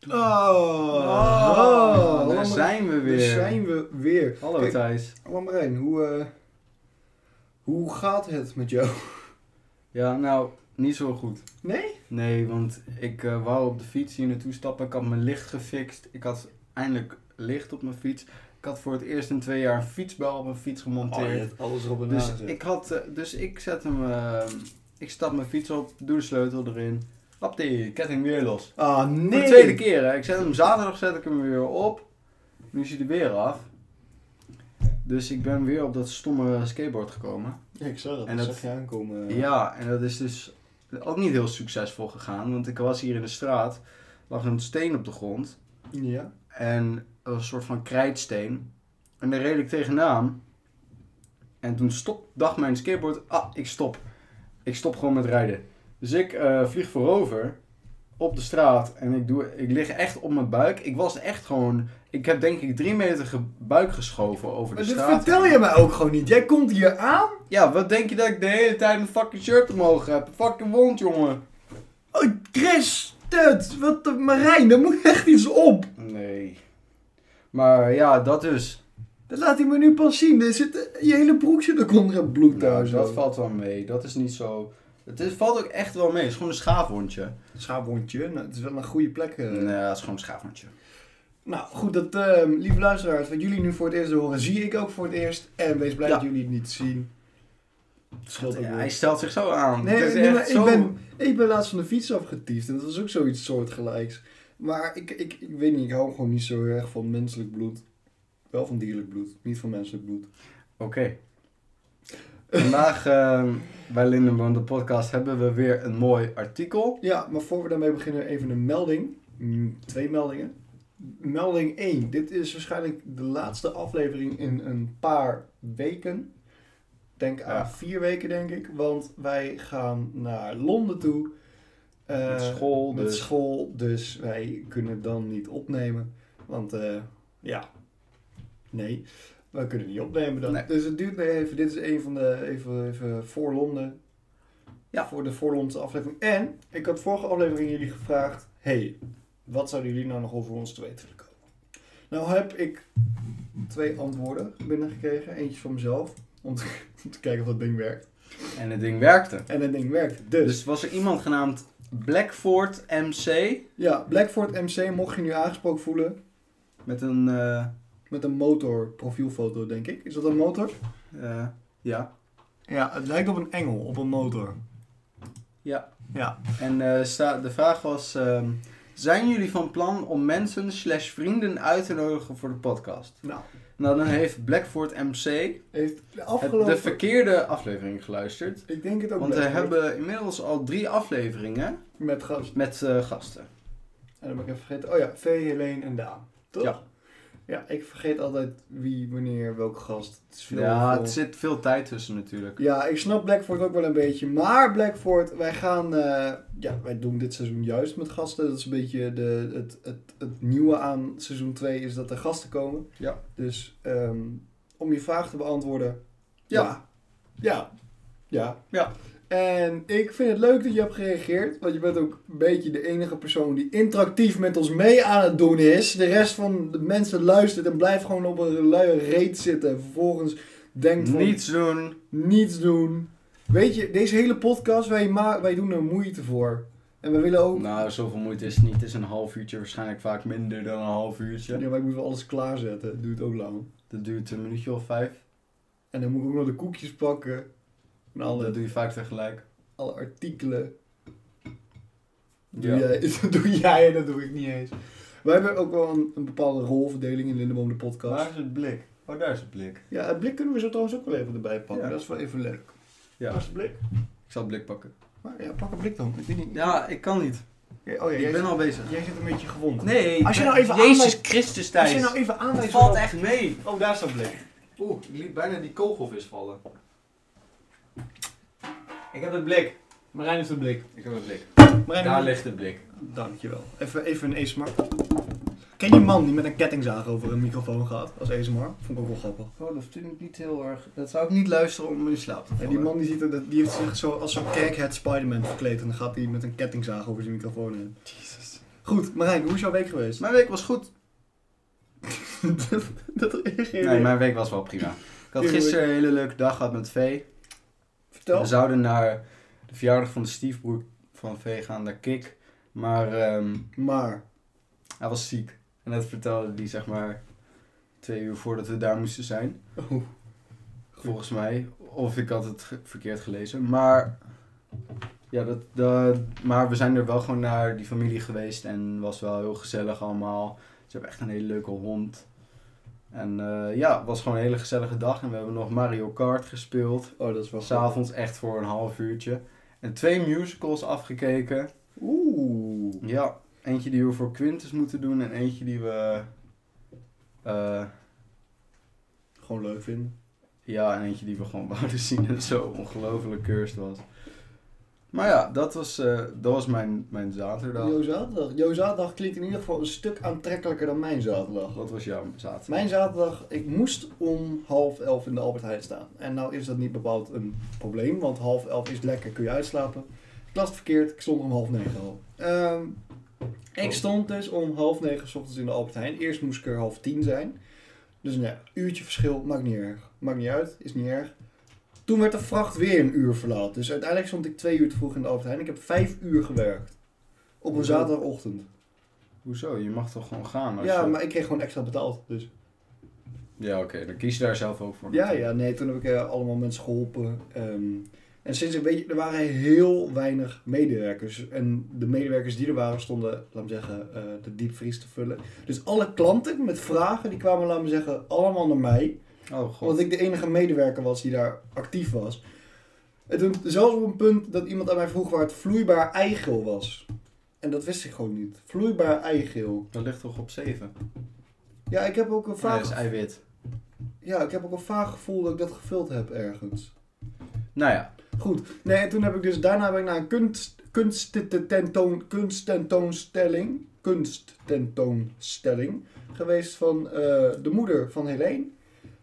klaar. Oh, Oh, Lam- daar zijn we weer. Daar zijn we weer. Hallo Kijk, Thijs. Lammerijn, hoe, eh, hoe gaat het met jou? Ja, nou, niet zo goed. Nee? Nee, want ik eh, wou op de fiets hier naartoe stappen. Ik had mijn licht gefixt. Ik had eindelijk licht op mijn fiets. Ik had voor het eerst in twee jaar een fietsbel op mijn fiets Oh, je gemonteerd. hebt alles erop en dus, aan gezet. ik had, eh, dus ik zet hem... eh, ik stap mijn fiets op, doe de sleutel erin. Hap die ketting weer los. Ah, Voor nee! de tweede keer, hè. Ik zet hem zaterdag zet ik hem weer op. Nu is hij er weer af. Dus ik ben weer op dat stomme skateboard gekomen. Ja, ik zag dat. En ik dat- zag je aankomen. Ja, en dat is dus ook niet heel succesvol gegaan. Want ik was hier in de straat, lag een steen op de grond. Ja? En dat was een soort van krijtsteen. En daar reed ik tegenaan. En toen stop, dacht mijn skateboard, ah, ik stop. Ik stop gewoon met rijden. Dus ik eh, vlieg voorover op de straat en ik, doe, ik lig echt op mijn buik. Ik was echt gewoon, ik heb denk ik drie meter ge- buik geschoven over de Maar dit straat. vertel je mij ook gewoon niet. Jij komt hier aan. Ja, wat denk je dat ik de hele tijd mijn fucking shirt omhoog heb? Een Fucking wond, jongen. Oh, Chris, Tut, wat de Marijn, daar moet echt iets op. Nee. Maar ja, dat dus. Dat laat hij me nu pas zien. Er zit, je hele broek zit ook onder het bloed daar. Nou, dat valt wel mee. Dat is niet zo... Het is, valt ook echt wel mee. Het is gewoon een schaafwondje. Schaapwondje, nou, het is wel een goede plek. eh. Nee, het is gewoon een schaafwondje. Nou goed, dat, ehm, lieve luisteraars, wat jullie nu voor het eerst horen, zie ik ook voor het eerst. En wees blij Ja. dat jullie het niet zien. Het scheelt ook Ja, wel. hij stelt zich zo aan. Nee, Het is nee, echt maar zo... ik, ben, ik ben laatst van de fiets afgetiefd en dat was ook zoiets soortgelijks. Maar ik, ik, ik weet niet, ik hou gewoon niet zo erg van menselijk bloed. Wel van dierlijk bloed, niet van menselijk bloed. Oké. Vandaag ehm, bij Lindenboom de podcast hebben we weer een mooi artikel. Ja, maar voor we daarmee beginnen, even een melding. Mm, Twee meldingen. Melding 1. Dit is waarschijnlijk de laatste aflevering in een paar weken. Denk aan Ja. vier weken, denk ik. Want wij gaan naar Londen toe. Eh, Met school, Met dus. school. Dus wij kunnen dan niet opnemen. Want eh, ja, nee. We kunnen niet opnemen dan. Nee. Dus het duurt nog even. Dit is een van de, even, even voor Londen. Ja, voor de voorlondse aflevering. En ik had vorige aflevering jullie gevraagd: hey, wat zouden jullie nou nog over ons te weten willen komen? Nou heb ik twee antwoorden binnengekregen. Eentje van mezelf, om te, om te kijken of dat ding werkt. En het ding werkte. En dat ding werkt. Dus, Dus was er iemand genaamd Blackford MC ja, Blackford MC mocht je nu aangesproken voelen met een... eh, met een motorprofielfoto, denk ik. Is dat een motor? eh, ja. Ja, het lijkt op een engel, op een motor. Ja. Ja. En eh, sta- de vraag was... ehm, zijn jullie van plan om mensen slash vrienden uit te nodigen voor de podcast? Nou, Nou, dan heeft Blackford MC heeft de het- afgelopen... de verkeerde aflevering geluisterd. ik denk het ook Want we Blackford, hebben inmiddels al drie afleveringen Met gast. met eh, gasten. En dan ben ik even vergeten. Oh ja, Vee, Helene en Daan. Toch? Ja. Ja, ik vergeet altijd wie, wanneer, welke gast. Het is veel Ja, veel- het zit veel tijd tussen natuurlijk. Ja, ik snap Blackford ook wel een beetje. Maar Blackford, wij gaan... eh, ja, wij doen dit seizoen juist met gasten. Dat is een beetje de, het, het, het nieuwe aan seizoen 2 is dat er gasten komen. Ja. Dus ehm, om je vraag te beantwoorden... Ja. Ja. Ja. Ja. En ik vind het leuk dat je hebt gereageerd. Want je bent ook een beetje de enige persoon die interactief met ons mee aan het doen is. De rest van de mensen luistert en blijft gewoon op een luie reet zitten. En vervolgens denkt van... Niets doen. Niets doen. Weet je, deze hele podcast, wij, ma- wij doen er moeite voor. En we willen ook... Nou, zoveel moeite is het niet. Het is een half uurtje, waarschijnlijk vaak minder dan een half uurtje. Ja, maar ik moet wel alles klaarzetten. Dat duurt ook lang. Dat duurt een minuutje of vijf. En dan moet ik ook nog de koekjes pakken. En alle, Dat doe je vaak tegelijk. alle artikelen. Doe, Ja. jij, dat doe jij en dat doe ik niet eens. Wij hebben ook wel een, een bepaalde rolverdeling in Lindeboom de podcast. Waar is het blik? Oh, daar is het blik. Ja, het blik kunnen we zo trouwens ook wel even erbij pakken. Ja. Dat is wel even leuk. Ja. Waar is het blik? Ik zal het blik pakken. Maar ja, pak het blik dan. Ik weet niet. Ja, ik kan niet. Ja, Oh ja, Ik jij, ben al bezig. zit, jij zit een beetje gewond. Nee. Als je nou even Jezus aanwijst- Christus, Als Thijs. je nou even Het aanwijst... valt echt mee. Oh, daar staat blik. Oeh, ik liet bijna die kogelvis vallen. Ik heb het blik. Marijn is het blik. Ik heb het blik. Marijn, Daar ligt het blik. Dankjewel. Even, even een ASMR. Ken je die man die met een kettingzaag over een microfoon gaat als ASMR? Vond ik ook wel grappig. Oh, dat vind ik niet heel erg... Dat zou ik niet luisteren om in slaap te En vallen. die man die, ziet er, dat- die heeft zich zo als zo'n kerkhead Spider-Man verkleed en dan gaat hij met een kettingzaag over zijn microfoon heen. Jezus. Goed, Marijn, hoe is jouw week geweest? Mijn week was goed. dat, dat reageer Nee, mijn week was wel prima. Ik had gisteren een hele leuke dag gehad met Vee. Vertel. We zouden naar de verjaardag van de stiefbroer van Vee gaan, naar Kik. Maar ehm, Maar, hij was ziek. En dat vertelde hij zeg maar twee uur voordat we daar moesten zijn. oh, Volgens mij. Of ik had het ge- verkeerd gelezen. Maar, ja, dat, dat, maar we zijn er wel gewoon naar die familie geweest. En was wel heel gezellig allemaal. Ze hebben echt een hele leuke hond. En eh, ja, het was gewoon een hele gezellige dag. En we hebben nog Mario Kart gespeeld. oh, dat is wel goed. S'avonds echt voor een half uurtje. En twee musicals afgekeken. Oeh. Ja, eentje die we voor Quintus moeten doen. En eentje die we... eh, Gewoon leuk vinden. Ja, en eentje die we gewoon wouden zien en zo ongelooflijk cursed was. Maar ja, dat was, eh, dat was mijn, mijn zaterdag. Jouw zaterdag. Jouw zaterdag klinkt in ieder geval een stuk aantrekkelijker dan mijn zaterdag. Wat was jouw zaterdag? Mijn zaterdag, ik moest om half elf in de Albert Heijn staan. En nou is dat niet bepaald een probleem, want half elf is lekker, kun je uitslapen. Ik las het verkeerd, ik stond om half negen al. Ehm, ik Oh. stond dus om half negen 's ochtends in de Albert Heijn. Eerst moest ik er half tien zijn. Dus nou ja, uurtje verschil, maakt niet erg. Maakt niet uit, is niet erg. Toen werd de vracht weer een uur verlaat. Dus uiteindelijk stond ik twee uur te vroeg in de Albert Heijn. Ik heb vijf uur gewerkt. Op een Hoezo? Oh, zaterdagochtend. Hoezo? Je mag toch gewoon gaan? Als Ja, je- maar ik kreeg gewoon extra betaald, dus... Ja, oké. Dan kies je daar zelf ook voor. Ja, ja, nee, toen heb ik eh, allemaal mensen geholpen. Ehm, en sinds een beetje, er waren heel weinig medewerkers. En de medewerkers die er waren, stonden, laat me zeggen, eh, de diepvries te vullen. Dus alle klanten met vragen, die kwamen, laat me zeggen, allemaal naar mij. Oh god. Omdat ik de enige medewerker was die daar actief was. En toen, zelfs op een punt dat iemand aan mij vroeg waar het vloeibaar eigeel was. En dat wist ik gewoon niet. Vloeibaar eigeel. Dat ligt toch op 7? Ja, ik heb ook een Ja, dat vaag, is eiwit. ja, ik heb ook een vaag gevoel dat ik dat gevuld heb ergens. Nou ja. Goed. Nee, en toen heb ik dus daarna ben ik naar een kunst, kunsttentoon, kunsttentoonstelling, kunsttentoonstelling geweest van eh, de moeder van Helene.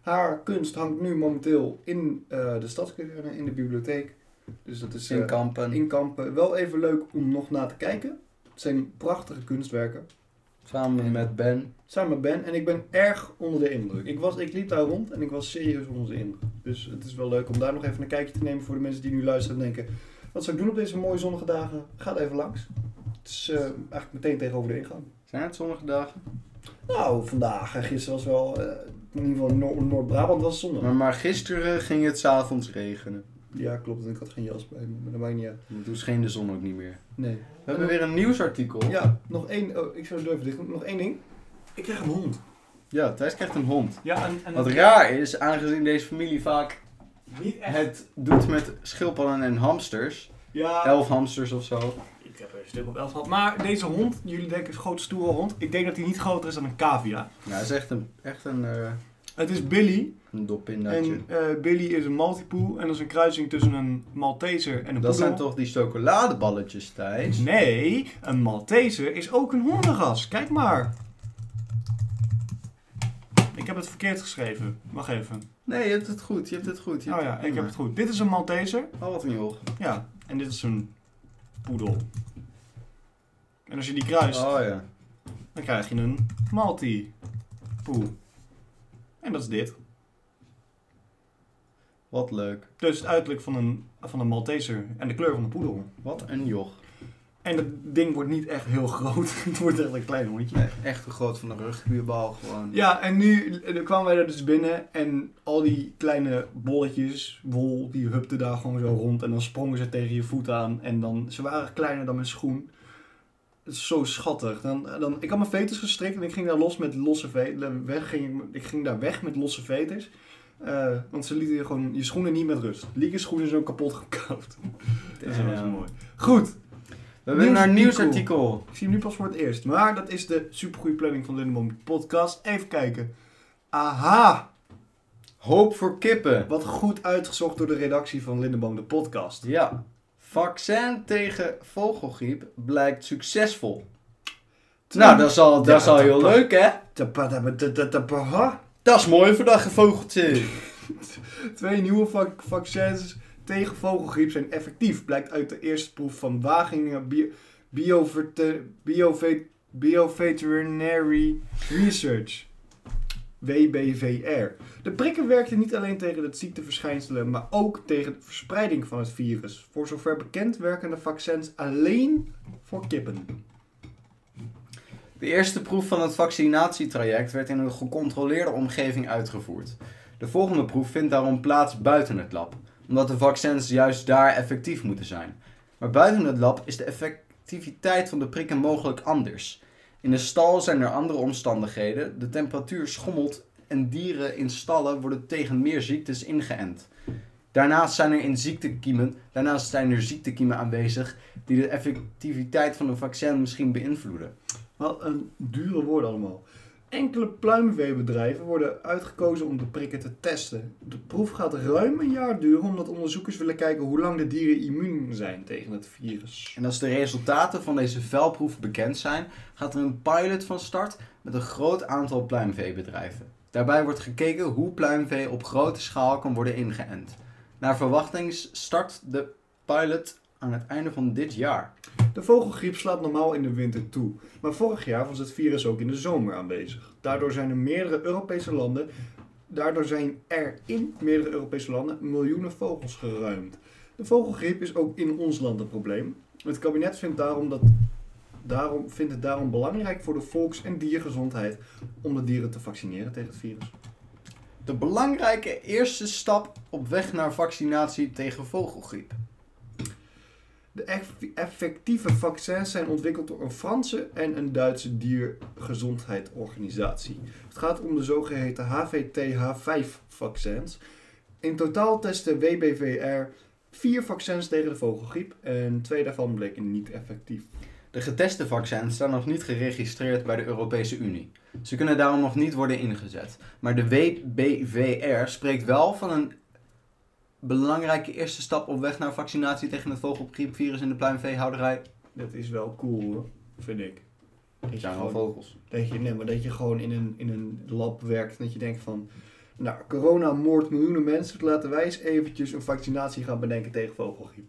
Haar kunst hangt nu momenteel in eh, de stadskazerne, in de bibliotheek. Dus dat is eh, In kampen. in Kampen. Wel even leuk om nog naar te kijken. Het zijn prachtige kunstwerken Samen met Ben. samen met Ben. En ik ben erg onder de indruk. Ik, was, ik liep daar rond en ik was serieus onder de indruk. Dus het is wel leuk om daar nog even een kijkje te nemen voor de mensen die nu luisteren en denken... Wat zou ik doen op deze mooie zonnige dagen? Ga er even langs. Het is eh, eigenlijk meteen tegenover de ingang. Zijn het sommige dagen? Nou, vandaag en gisteren was wel... eh, in ieder geval Noor- Noord-Brabant was zondag. Maar, maar gisteren ging het s'avonds regenen. Ja, klopt. En ik had geen jas bij me. Maar dat maakt niet uit. En Toen scheen de zon ook niet meer. Nee. We hebben weer een nieuwsartikel. Ja, nog één... Oh, ik zou het durven dicht. Nog één ding. Ik kreeg een hond. Ja, Thijs krijgt een hond. Ja, en... en Wat raar is, aangezien deze familie vaak Niet het doet met schildpadden en hamsters. Ja. Elf hamsters of zo. Nou, Ik heb er een stuk op elf gehad. Maar deze hond, jullie denken een grote stoere hond. Ik denk dat hij niet groter is dan een cavia. Nou, het is echt een, echt een, eh, Het is Billy. een dopindatje. En eh, Billy is een Maltipoe. En dat is een kruising tussen een Malteser en een dat zijn poedel. toch die chocoladeballetjes, Thijs? Nee, een Malteser is ook een hondenras. Kijk maar. Ik heb het verkeerd geschreven. Wacht even. Nee, je hebt het goed, je hebt het goed. je Oh hebt ja, ik heb het prima. goed. Dit is een Malteser. Oh, wat een joch. Ja, en dit is een poedel. En als je die kruist... Oh ja. Dan krijg je een malti poe. En dat is dit. Wat leuk. Dus het uiterlijk van een, van een Malteser en de kleur van de poedel. Wat een joch. En dat ding wordt niet echt heel groot. Het wordt echt een klein hondje. Nee, echt te groot van de rugbybal gewoon. Ja, en nu eh, kwamen wij daar dus binnen en al die kleine bolletjes, wol, die hupten daar gewoon zo rond. En dan sprongen ze tegen je voet aan en dan, ze waren kleiner dan mijn schoen. Het is zo schattig. Dan, dan, ik had mijn veters gestrikt en ik ging daar los met losse veters. Weg ging, ik- ik ging daar weg met losse veters. Eh, want ze lieten je gewoon je schoenen niet met rust. Lieke schoenen zo kapot gekauwd. Dat is wel eens Damn. mooi. Goed, We hebben naar een Nieuwsartikel. nieuwsartikel. ik zie hem nu pas voor het eerst. Maar dat is de supergoeie planning van Lindenboom Podcast. Even kijken. Aha! Hoop voor kippen. Wat goed uitgezocht door de redactie van Lindenboom de Podcast. Ja. Vaccin tegen vogelgriep blijkt succesvol. Nou, dat is al, dat is al heel leuk, hè? leuk. Dat is mooi vandaag, gevogeltje. Twee nieuwe vac- vaccins tegen vogelgriep zijn effectief, blijkt uit de eerste proef van Wageningen Bio- Bioverte- Biovet- Bioveterinary Research. WBVR. De prikken werkten niet alleen tegen het ziekteverschijnselen, maar ook tegen de verspreiding van het virus. Voor zover bekend werken de vaccins alleen voor kippen. De eerste proef van het vaccinatietraject werd in een gecontroleerde omgeving uitgevoerd. De volgende proef vindt daarom plaats buiten het lab, omdat de vaccins juist daar effectief moeten zijn. Maar buiten het lab is de effectiviteit van de prikken mogelijk anders. In de stal zijn er andere omstandigheden, de temperatuur schommelt en dieren in stallen worden tegen meer ziektes ingeënt. Daarnaast zijn er in ziektekiemen, daarnaast zijn er ziektekiemen aanwezig die de effectiviteit van een vaccin misschien beïnvloeden. Wat een dure woord allemaal. Enkele pluimveebedrijven worden uitgekozen om de prikken te testen. De proef gaat ruim een jaar duren omdat onderzoekers willen kijken hoe lang de dieren immuun zijn tegen het virus. En als de resultaten van deze vuilproef bekend zijn, gaat er een pilot van start met een groot aantal pluimveebedrijven. Daarbij wordt gekeken hoe pluimvee op grote schaal kan worden ingeënt. Naar verwachting start de pilot aan het einde van dit jaar. De vogelgriep slaat normaal in de winter toe, maar vorig jaar was het virus ook in de zomer aanwezig. Daardoor zijn er meerdere Europese landen, daardoor zijn er in meerdere Europese landen miljoenen vogels geruimd. De vogelgriep is ook in ons land een probleem. Het kabinet vindt, daarom dat, daarom, vindt het daarom belangrijk voor de volks- en diergezondheid om de dieren te vaccineren tegen het virus. De belangrijke eerste stap op weg naar vaccinatie tegen vogelgriep. De eff- effectieve vaccins zijn ontwikkeld door een Franse en een Duitse diergezondheidsorganisatie. Het gaat om de zogeheten HVTH5-vaccins. In totaal testte WBVR vier vaccins tegen de vogelgriep en twee daarvan bleken niet effectief. De geteste vaccins staan nog niet geregistreerd bij de Europese Unie. Ze kunnen daarom nog niet worden ingezet. Maar de WBVR spreekt wel van een belangrijke eerste stap op weg naar vaccinatie tegen het vogelgriepvirus in de pluimveehouderij. Dat is wel cool hoor, vind ik. Dat je Het zijn wel gewoon- vogels. Dat je, nee, maar dat je gewoon in een, in een lab werkt en dat je denkt van... Nou, corona moordt miljoenen mensen, dus laten wij eens eventjes een vaccinatie gaan bedenken tegen vogelgriep.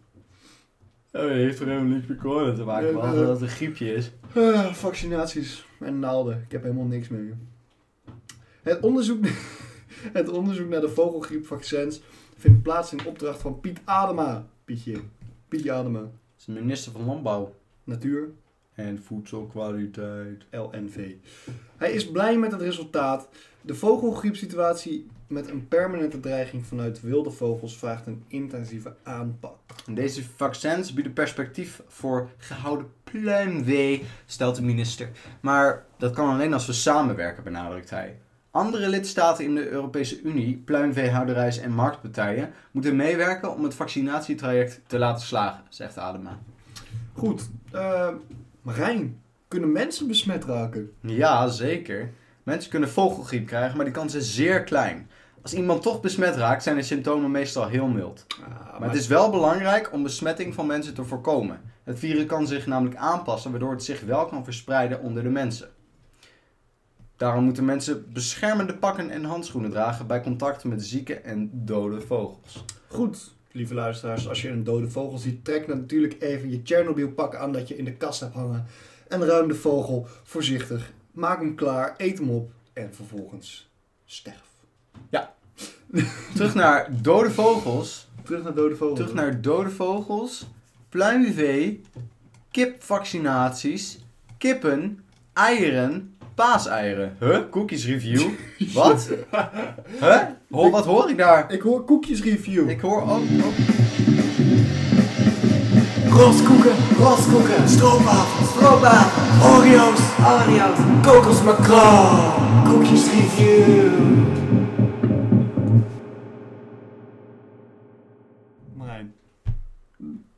heeft er helemaal niks met corona te maken, behalve dat het een griepje is. Ah, vaccinaties en naalden. Ik heb helemaal niks meer. joh. Het onderzoek, het onderzoek naar de vogelgriepvaccins vindt plaats in opdracht van Piet Adema. Pietje. Pietje Adema. Het is de minister van Landbouw Natuur. en Voedselkwaliteit. LNV. Hij is blij met het resultaat. De vogelgriepsituatie met een permanente dreiging vanuit wilde vogels vraagt een intensieve aanpak. En deze vaccins bieden perspectief voor gehouden pluimwee, stelt de minister. Maar dat kan alleen als we samenwerken, benadrukt hij. Andere lidstaten in de Europese Unie, pluimveehouderijs en marktpartijen, moeten meewerken om het vaccinatietraject te laten slagen, zegt Adema. Goed, eh Marijn, kunnen mensen besmet raken? Ja, zeker. Mensen kunnen vogelgriep krijgen, maar die kans is zeer klein. Als iemand toch besmet raakt, zijn de symptomen meestal heel mild. Maar het is wel belangrijk om besmetting van mensen te voorkomen. Het virus kan zich namelijk aanpassen, waardoor het zich wel kan verspreiden onder de mensen. Daarom moeten mensen beschermende pakken en handschoenen dragen bij contact met zieke en dode vogels. Goed, lieve luisteraars, als je een dode vogel ziet, trek dan natuurlijk even je Chernobyl pak aan dat je in de kast hebt hangen. En ruim de vogel voorzichtig. Maak hem klaar, eet hem op en vervolgens sterf. Terug naar dode vogels. Terug naar dode vogel. Terug naar dode vogels. Pluimvee. Kipvaccinaties. Kippen. Eieren. Paaseieren. Huh? Cookies review. Wat? Huh? Ho- wat hoor ik daar? Ik hoor koekjes review. Ik hoor ook. Roskoeken, roskoeken, stroopwafel, stroopwafel, Oreo's, Oreo's, kokosmacro, koekjes review. Marijn.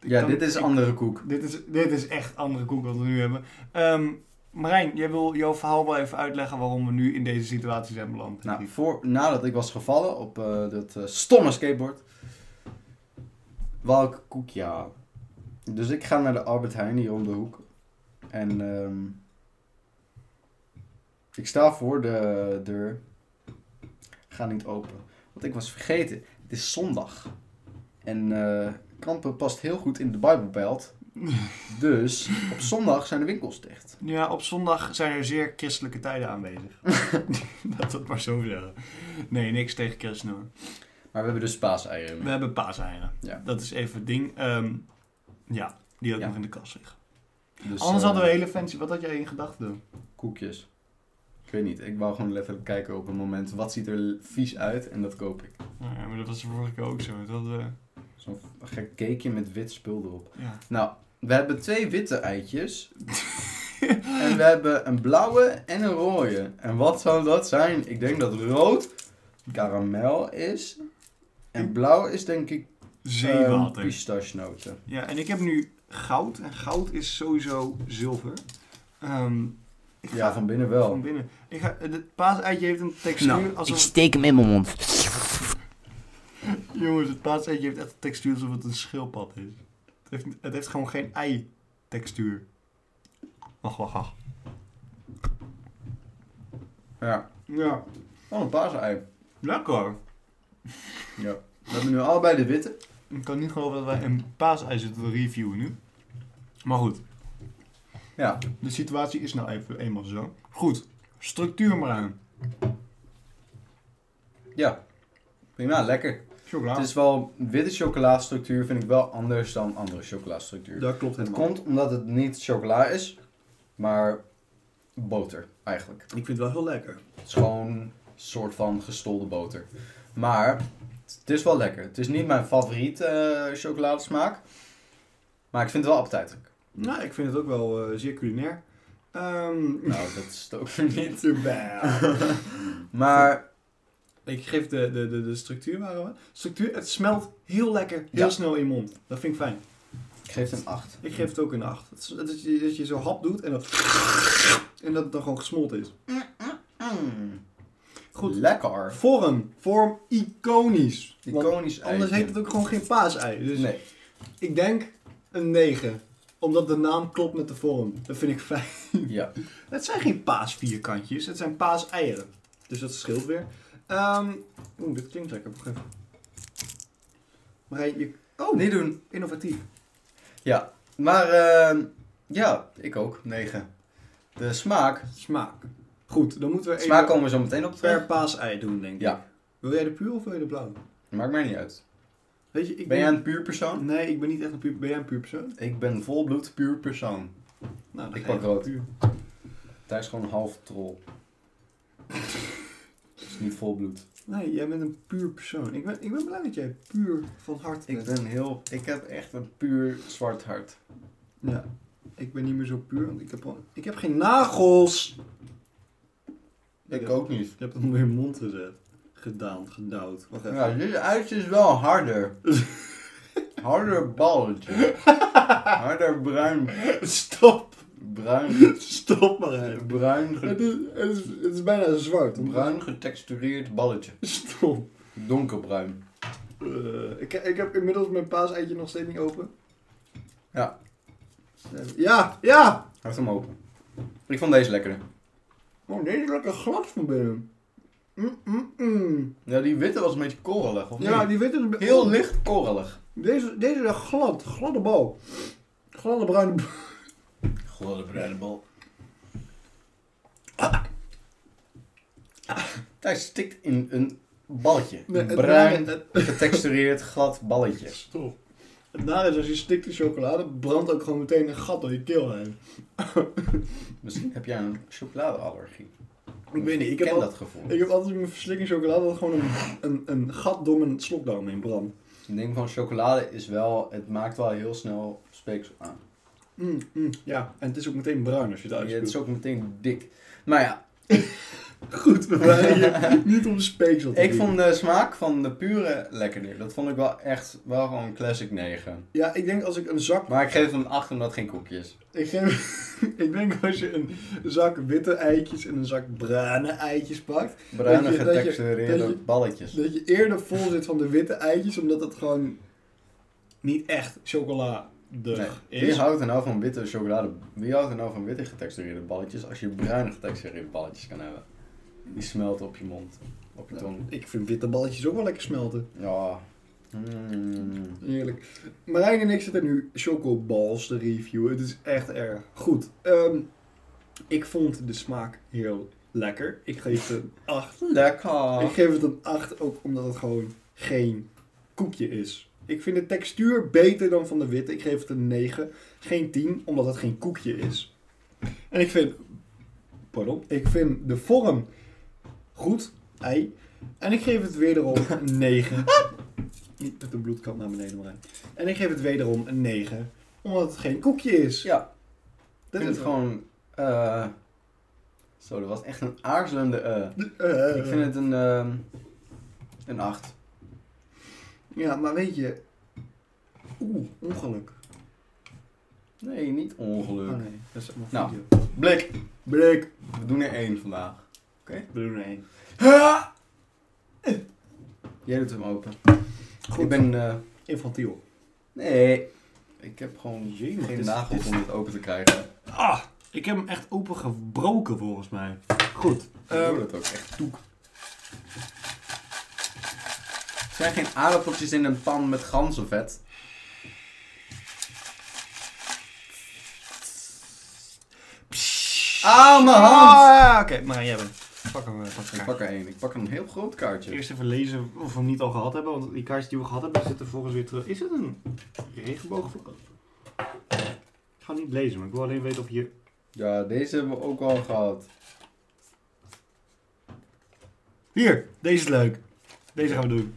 Ik Ja, kan- dit is ik- andere koek. Dit is, dit is echt andere koek wat we nu hebben. Ehm, Marijn, jij wil jouw verhaal wel even uitleggen waarom we nu in deze situatie zijn beland. Nou, voor, nadat ik was gevallen op eh, dat eh, stomme skateboard, wou ik een koekje halen. Dus ik ga naar de Albert Heijn hier om de hoek. En ehm, ik sta voor de deur. Ga niet open. Want ik was vergeten, het is zondag. En eh, kampen past heel goed in de Bijbelbelt. Dus op zondag zijn de winkels dicht. Ja, op zondag zijn er zeer christelijke tijden aanwezig. Laat dat maar zo zeggen. Nee, niks tegen christenen. hoor. Maar we hebben dus paaseieren. We hebben paaseieren. Ja. Dat is even het ding. Ehm, ja, die had ik Ja. nog in de kast liggen. Dus, Anders eh, hadden we hele fancy... Wat had jij in gedachten? Koekjes. Ik weet niet, ik wou gewoon letterlijk kijken op een moment. Wat ziet er vies uit en dat koop ik. Nou ja, maar dat was de vorige keer ook zo. Dat, Zo'n gek cakeje met wit spul erop. ja. Nou, we hebben twee witte eitjes. en we hebben een blauwe en een rode. En wat zou dat zijn? Ik denk dat rood karamel is. En blauw is denk ik um, Zeewater. pistachenoten. Ja, en ik heb nu goud. En goud is sowieso zilver. Ehm, ik ga Ja, van binnen van wel. binnen. Ik ga, het paaseitje heeft een textuur Ik alsof... steek hem in mijn mond. Jongens, het paaseitje heeft echt een textuur alsof het een schildpad is. Het heeft, het heeft gewoon geen ei-textuur. Wacht, wacht, wacht. Ja. Ja, Oh, een paarse ei. lekker. Ja. We hebben nu allebei de witte. Ik kan niet geloven dat wij een paasei zitten te reviewen nu. Maar goed, Ja. de situatie is nou even eenmaal zo. Goed, structuur maar aan. Ja. Prima, lekker. Chocola. Het is wel, witte chocoladestructuur vind ik wel anders dan andere chocoladestructuur. Dat klopt Het komt omdat het niet chocola is, maar boter eigenlijk. Ik vind het wel heel lekker. Het is gewoon een soort van gestolde boter. Maar het is wel lekker. Het is niet mijn favoriete eh, chocoladesmaak, maar ik vind het wel appetijtelijk. Nou, ik vind het ook wel eh, zeer culinair. Ehm Nou, dat is het ook weer niet. wel. Maar Ik geef de, de, de, de structuur waren we. Structuur, het smelt heel lekker, heel Ja. snel in je mond. Dat vind ik fijn. ik geef het een 8. Ik geef het ook een 8. Dat, is- dat, je, dat je zo hap doet en dat, en dat het dan gewoon gesmolten is. Mm, Goed. Lekker. Vorm. Vorm iconisch. Want Iconisch Anders eitje. heet het ook gewoon geen paasei. Dus Nee. ik denk een 9. Omdat de naam klopt met de vorm. Dat vind ik fijn. Ja. Het zijn geen paasvierkantjes, het zijn paaseieren. Dus dat scheelt weer. Ehm Oeh, dit klinkt lekker. Wacht even. Marijn, je... Oh, Niet doen. innovatief. Ja. Maar ehm, ja, ik ook. 9. De smaak. Smaak. Goed, dan moeten we even Smaak komen we zo meteen op terug. per paasei doen, denk ik. Ja. Wil jij de puur of wil je de blauwe? Maakt mij niet uit. Weet je, ik Ben jij een puur persoon? Nee, ik ben niet echt een puur... Ben jij een puur persoon? Ik ben volbloed puur persoon. Nou, dan Ik ga pak je voor rood. puur. Thijs is gewoon een half troll. is niet volbloed. Nee, jij bent een puur persoon. Ik ben, ik ben blij dat jij puur van hart Ik bent. ben heel... Ik heb echt een puur zwart hart. Ja, ik ben niet meer zo puur, want ik heb, al- ik heb geen nagels. Ik ook niet. Je hebt het onder je mond gezet. Gedaan, gedouwd. Wacht even. Ja, dit uitje is wel harder. harder balletje. harder bruin... Stop, Bruin... stop maar even. Bruin... ge- Het is, het, is, het is bijna zwart. Bruin getextureerd balletje. Stop. Donkerbruin. Eh, ik, ik heb inmiddels mijn paaseitje nog steeds niet open. Ja. Ja, ja! Houdt hem open. Ik vond deze lekkerder. Oh, deze is lekker glad van binnen. Mm, mm, mm. Ja, die witte was een beetje korrelig, of niet? Ja, die witte is... Oh, Heel licht korrelig. Deze, deze is echt glad. Gladde bal. Gladde bruine bal. Gladde bruine bal. Thijs Ah. stikt in een balletje. Nee, Een het bruin, nare- getextureerd, glad balletje. Stop. Het nadeel is, als je stikt in chocolade, brandt ook gewoon meteen een gat door je keel heen. Misschien heb jij een chocoladeallergie. Ik weet niet, ik heb, ken al- dat gevoel. ik heb altijd mijn verslikking chocolade dat gewoon een, een, een gat door mijn slokdarm heen brandt. Het ding van chocolade is wel, het maakt wel heel snel speeksel aan. Mm, mm, ja, en het Ah, is ook meteen bruin als je het Ja, het uitspuugt. is ook meteen dik. Maar ja, Goed, we waren hier niet om de speeksel te ik doen. vond de smaak van de pure lekkerder. Dat vond ik wel echt, wel gewoon een classic 9. Ja, ik denk als ik een zak... Maar ik geef hem een 8 omdat het geen koekje is. Ik, geef- ik denk als je een zak witte eitjes en een zak bruine eitjes pakt... Bruine Dat je- dat je- getextureerde dat je- balletjes. Dat je eerder vol zit van de witte eitjes, omdat het gewoon niet echt chocolade Nee. Wie is. houdt er nou van witte chocolade? Wie houdt er nou van witte getextureerde balletjes als je bruine getextureerde balletjes kan hebben? Die smelten op je mond, op je tong. Ik vind witte balletjes ook wel lekker smelten. Ja, Mm. Heerlijk. Marijn en ik zitten nu Chocoballs te reviewen. Het is echt erg. Goed. ehm, ik vond de smaak heel lekker. Ik geef het een 8. Lekker. Ik geef het een 8 ook omdat het gewoon geen koekje is. Ik vind de textuur beter dan van de witte. Ik geef het een 9. Geen 10 omdat het geen koekje is. En ik vind... Pardon. Ik vind de vorm goed. Ei. En ik geef het wederom een 9. Niet met de bloedkant naar beneden, Marijn. En ik geef het wederom een 9. Omdat het geen koekje is. Ja, Dit ik vind het gewoon... eh, Zo, dat was echt een aarzelende... eh. Eh, Ik vind het een... ehm, Een 8. Ja, maar weet je... Oeh, ongeluk. Nee, niet ongeluk. Oh nee, dat is allemaal Nou. video. Blik, Blik. we doen er één vandaag. Blue Rain. Ha! Jij doet hem open. Goed. Ik ben... eh, infantiel. Nee. Ik heb gewoon Jee, maar geen dit- nagels dit- om dit open te krijgen. Ah, ik heb hem echt opengebroken volgens mij. Goed. Ik hoor dat ook echt toek. Er zijn geen aardappeltjes in een pan met ganzenvet. Ah, mijn hand! Ah, oké, maar jij bent. Pak hem, eh, pak de Ik kaart. pak er één. Ik pak een heel groot kaartje. Eerst even lezen of we hem niet al gehad hebben, want die kaartjes die we gehad hebben zitten volgens weer terug. Is het een regenboogvlak? Ik ga hem niet lezen, maar ik wil alleen weten of hier... Ja, deze hebben we ook al gehad. Hier, deze is leuk. Deze gaan we doen.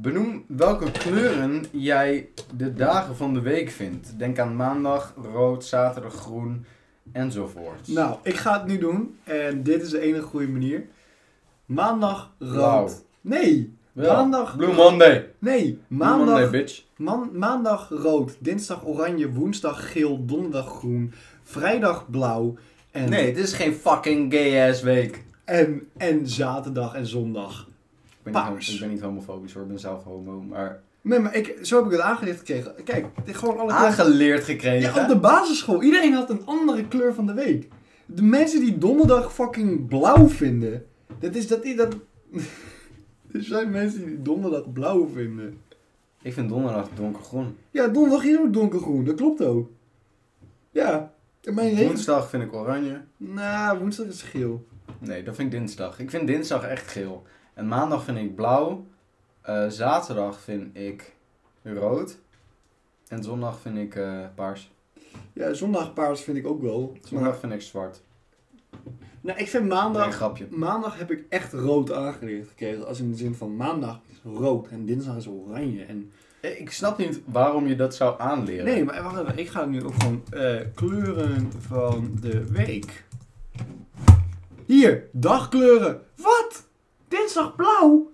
Benoem welke kleuren jij de dagen van de week vindt. Denk aan maandag, rood, zaterdag, groen enzovoort. Nou, ik ga het nu doen en dit is de enige goede manier. Maandag Blauw. rood. Nee, Wel, maandag- Blue Monday. Blue nee, maandag Monday, bitch. Man- maandag rood, dinsdag oranje, woensdag geel, donderdag groen, vrijdag blauw en, Nee, dit is geen fucking gay ass week. Ik en, en zaterdag en zondag. ben, niet, Paars. hom- ik ben niet homofobisch hoor, ik ben zelf homo. Maar Nee, maar ik, zo heb ik het aangelicht gekregen. Kijk, dit gewoon alle kleuren- aangeleerd gekregen. Ja, op de basisschool. Iedereen had een andere kleur van de week. De mensen die donderdag fucking blauw vinden. Dat is dat... dat... er zijn mensen die donderdag blauw vinden. Ik vind donderdag donkergroen. Ja, donderdag is ook donkergroen. Dat klopt ook. Ja. En Mijn regen... Woensdag vind ik oranje. Nou, woensdag is geel. Nee, dat vind ik dinsdag. Ik vind dinsdag echt geel. En maandag vind ik blauw. Eh, zaterdag vind ik rood. En zondag vind ik eh, paars. Ja, zondag paars vind ik ook wel. Maar, Zondag vind ik zwart. nou, ik vind Nee, een maandag... grapje. Maandag heb ik echt rood aangeleerd gekregen. Als in de zin van maandag is rood en dinsdag is oranje. En... Eh, Ik snap niet waarom je dat zou aanleren. Nee, maar wacht even. Ik ga nu ook gewoon eh, kleuren van de week. Hier, dagkleuren. Wat? Dinsdag blauw?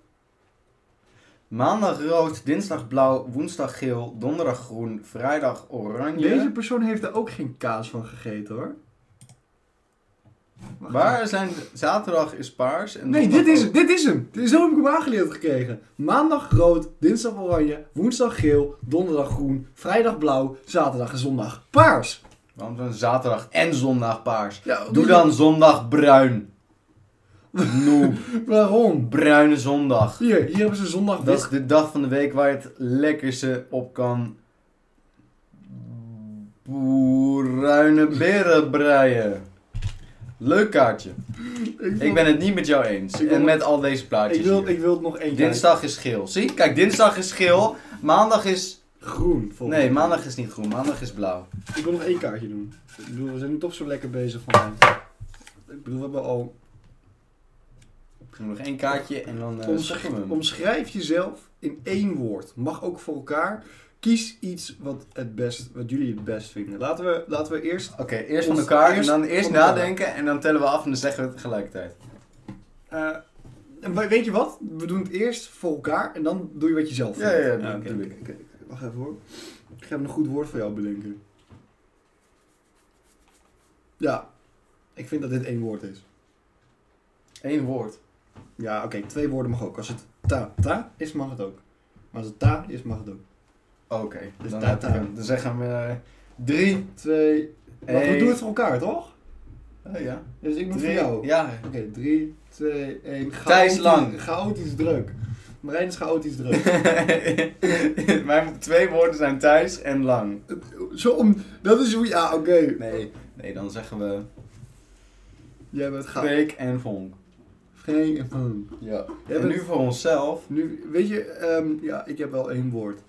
Maandag rood, dinsdag blauw, woensdag geel, donderdag groen, vrijdag oranje. Deze persoon heeft er ook geen kaas van gegeten hoor. Wacht even. Waar zijn zaterdag is paars en Nee, dit donderdag is, ook. het, dit is hem. Dit is- Zo heb ik hem aangeleerd gekregen. Maandag rood, dinsdag oranje, woensdag geel, donderdag groen, vrijdag blauw, zaterdag en zondag paars. Waarom zijn zaterdag en zondag paars? Ja, Doe dan zondag bruin. Noob. Waarom? Bruine zondag. Hier, hier hebben ze zondag Dat is wit. de dag van de week waar je het lekkerste op kan... Bruine beren breien. Leuk kaartje. wil- Ik ben het niet met jou eens. Ik wil- En met al deze plaatjes ik wil, hier. ik wil het nog één keer. Dinsdag is geel. Zie, kijk, dinsdag is geel. Maandag is... Groen. volgens mij. Nee, maandag is niet groen. Maandag is blauw. Ik wil nog één kaartje doen. Ik bedoel, we zijn nu toch zo lekker bezig van. Ik bedoel, we hebben al. Ik doe nog één kaartje en dan eh Omsch- stoppen we hem. Omschrijf jezelf in één woord. Mag ook voor elkaar. Kies iets wat, het best, wat jullie het best vinden. Laten we, laten we eerst. Oké, eerst van Ons- elkaar eerst en dan eerst van elkaar. nadenken en dan tellen we af en dan zeggen we het tegelijkertijd. eh, we- weet je wat? We doen het eerst voor elkaar en dan doe je wat je zelf Ja, vindt. ja, ja, oké, natuurlijk. oké, oké. Wacht even hoor. Ik ga even een goed woord voor jou bedenken. Ja, ik vind dat dit één woord is. Eén woord. Ja, oké, twee woorden mag ook. Als het ta, ta is, mag het ook. Maar als het ta is, mag het ook. Oké, Dus dan, daar- heb ik daar. hem. dan zeggen we eh, drie, Twee. Maar we één. doen het voor elkaar, toch? Oh, ja. Dus ik doe het voor Drie, jou. ja. Oké, drie, twee, één. Thijs Lang. Chaotisch druk. Marijn is chaotisch druk. Mijn twee woorden zijn thuis en lang. Zo om... Dat is hoe... Ja, oké. Nee, nee dan zeggen we Jij bent chaotisch. Freek en Vonk. Geen... hmm. Ja. Jij En bent- nu voor onszelf. Nu, weet je, ehm, ja, ik heb wel één woord.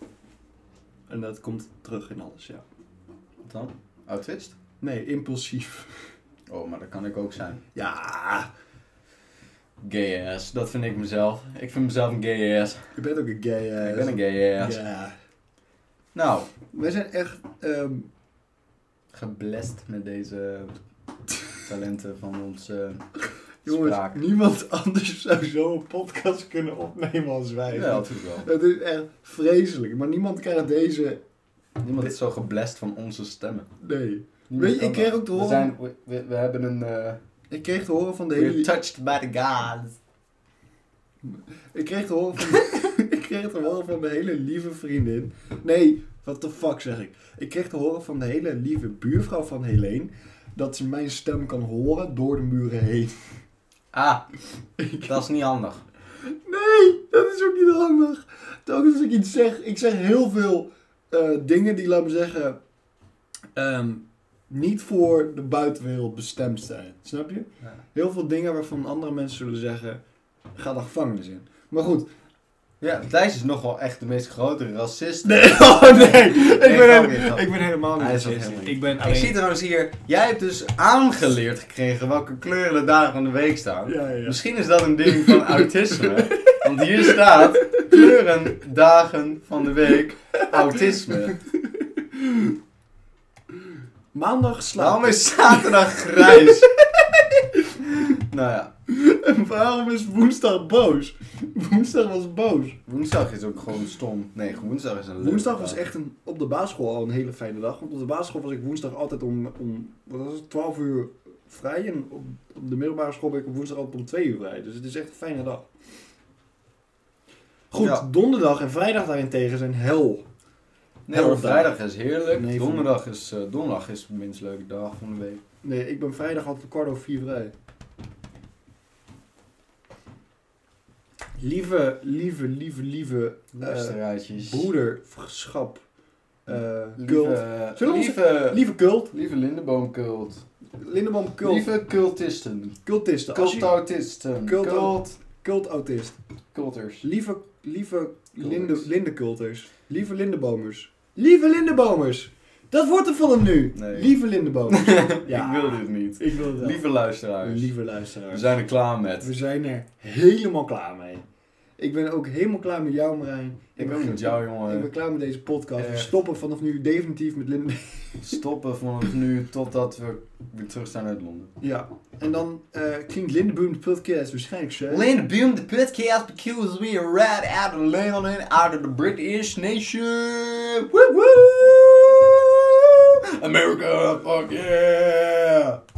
En dat komt terug in alles, ja. Wat dan? Autist? Nee, impulsief. Oh, maar dat kan ik ook zijn. Ja, Gay ass, dat vind ik mezelf. Ik vind mezelf een gay ass. je bent ook een gay ass. ik ben een gay ass. Ja. Nou, Wij zijn echt... ehm, geblest met deze talenten van ons eh, jongens, spraak. niemand anders zou zo'n podcast kunnen opnemen als wij. Ja, natuurlijk wel. Het is echt vreselijk. Maar niemand krijgt deze... Niemand is zo geblest van onze stemmen. Nee. Niemand Weet je, ik kan kreeg dat. ook te We, horen- zijn, we, we- we hebben een... eh, Ik kreeg te horen van de we're hele... touched by the gods. Ik kreeg te horen van... ik kreeg te horen van mijn hele lieve vriendin. Nee, what the fuck zeg ik. Ik kreeg te horen van de hele lieve buurvrouw van Helene... dat ze mijn stem kan horen door de muren heen. Ah, dat is niet handig. Nee, dat is ook niet handig. Telkens als ik iets zeg, ik zeg heel veel eh, dingen die, laat me zeggen, ehm, niet voor de buitenwereld bestemd zijn. Snap je? Ja. Heel veel dingen waarvan andere mensen zullen zeggen, ga de gevangenis in. Maar goed. Ja, Thijs is nog wel echt de meest grote racist. Nee, oh nee. Ik, Nee, ben, grapje, helemaal, grapje. ik ben helemaal niet Hij is ook racist. helemaal niet. Ik ben Ik alleen... zie trouwens hier, jij hebt dus aangeleerd gekregen welke kleuren de dagen van de week staan. Ja, ja, ja. Misschien is dat een ding van autisme. Want hier staat kleuren, dagen van de week, autisme. Maandag slaap Waarom ik. is zaterdag grijs? nou ja, En waarom is woensdag boos? Woensdag was boos. woensdag is ook gewoon stom. Nee, woensdag is een leuke Woensdag was dag. echt een, op de basisschool al een hele fijne dag. Want op de basisschool was ik woensdag altijd om, om wat was het, 12 uur vrij. En op, op de middelbare school ben ik op woensdag altijd om 2 uur vrij. Dus het is echt een fijne dag. Goed, Ja. donderdag en vrijdag daarentegen zijn hel. Nee hoor, Donderdag. vrijdag is heerlijk. Nee, Eh, van- donderdag, is, eh, donderdag is de minst leuke dag van de week. Nee, ik ben vrijdag altijd kwart over vier vrij. Lieve, lieve, lieve, lieve eh Luisteraartjes. broederschap. eh Lieve, cult. Zullen we ons- lieve, lieve, Lieve cult. Lindeboomkult. Lindenboom cult. Lieve cultisten. Cultisten. Als je- Cultautisten. Cult- Cult... Cultautist. Culters. Lieve, lieve linde, Culters. lindenculters. Lieve lindenbomers. Lieve lindenbomers. Dat wordt er van hem nu. Nee. Lieve lindenbomers. Ik wil dit niet. Ik wil het wel. Lieve luisteraars. Lieve We luisteraars. zijn er klaar met. We zijn er helemaal klaar mee. Ik ben ook helemaal klaar met jou, Marijn. Ik ben ben met jou, eh, Ik ben jongen. klaar met deze podcast. We Erg. stoppen vanaf nu definitief met Linden. Stoppen vanaf nu totdat we weer terug zijn uit Londen. Ja. En dan eh, klinkt Lindenboom de podcast waarschijnlijk zo. Lindeboom, the podcast, because we are right out of London, out of the British nation. Woo woo! America, fuck yeah!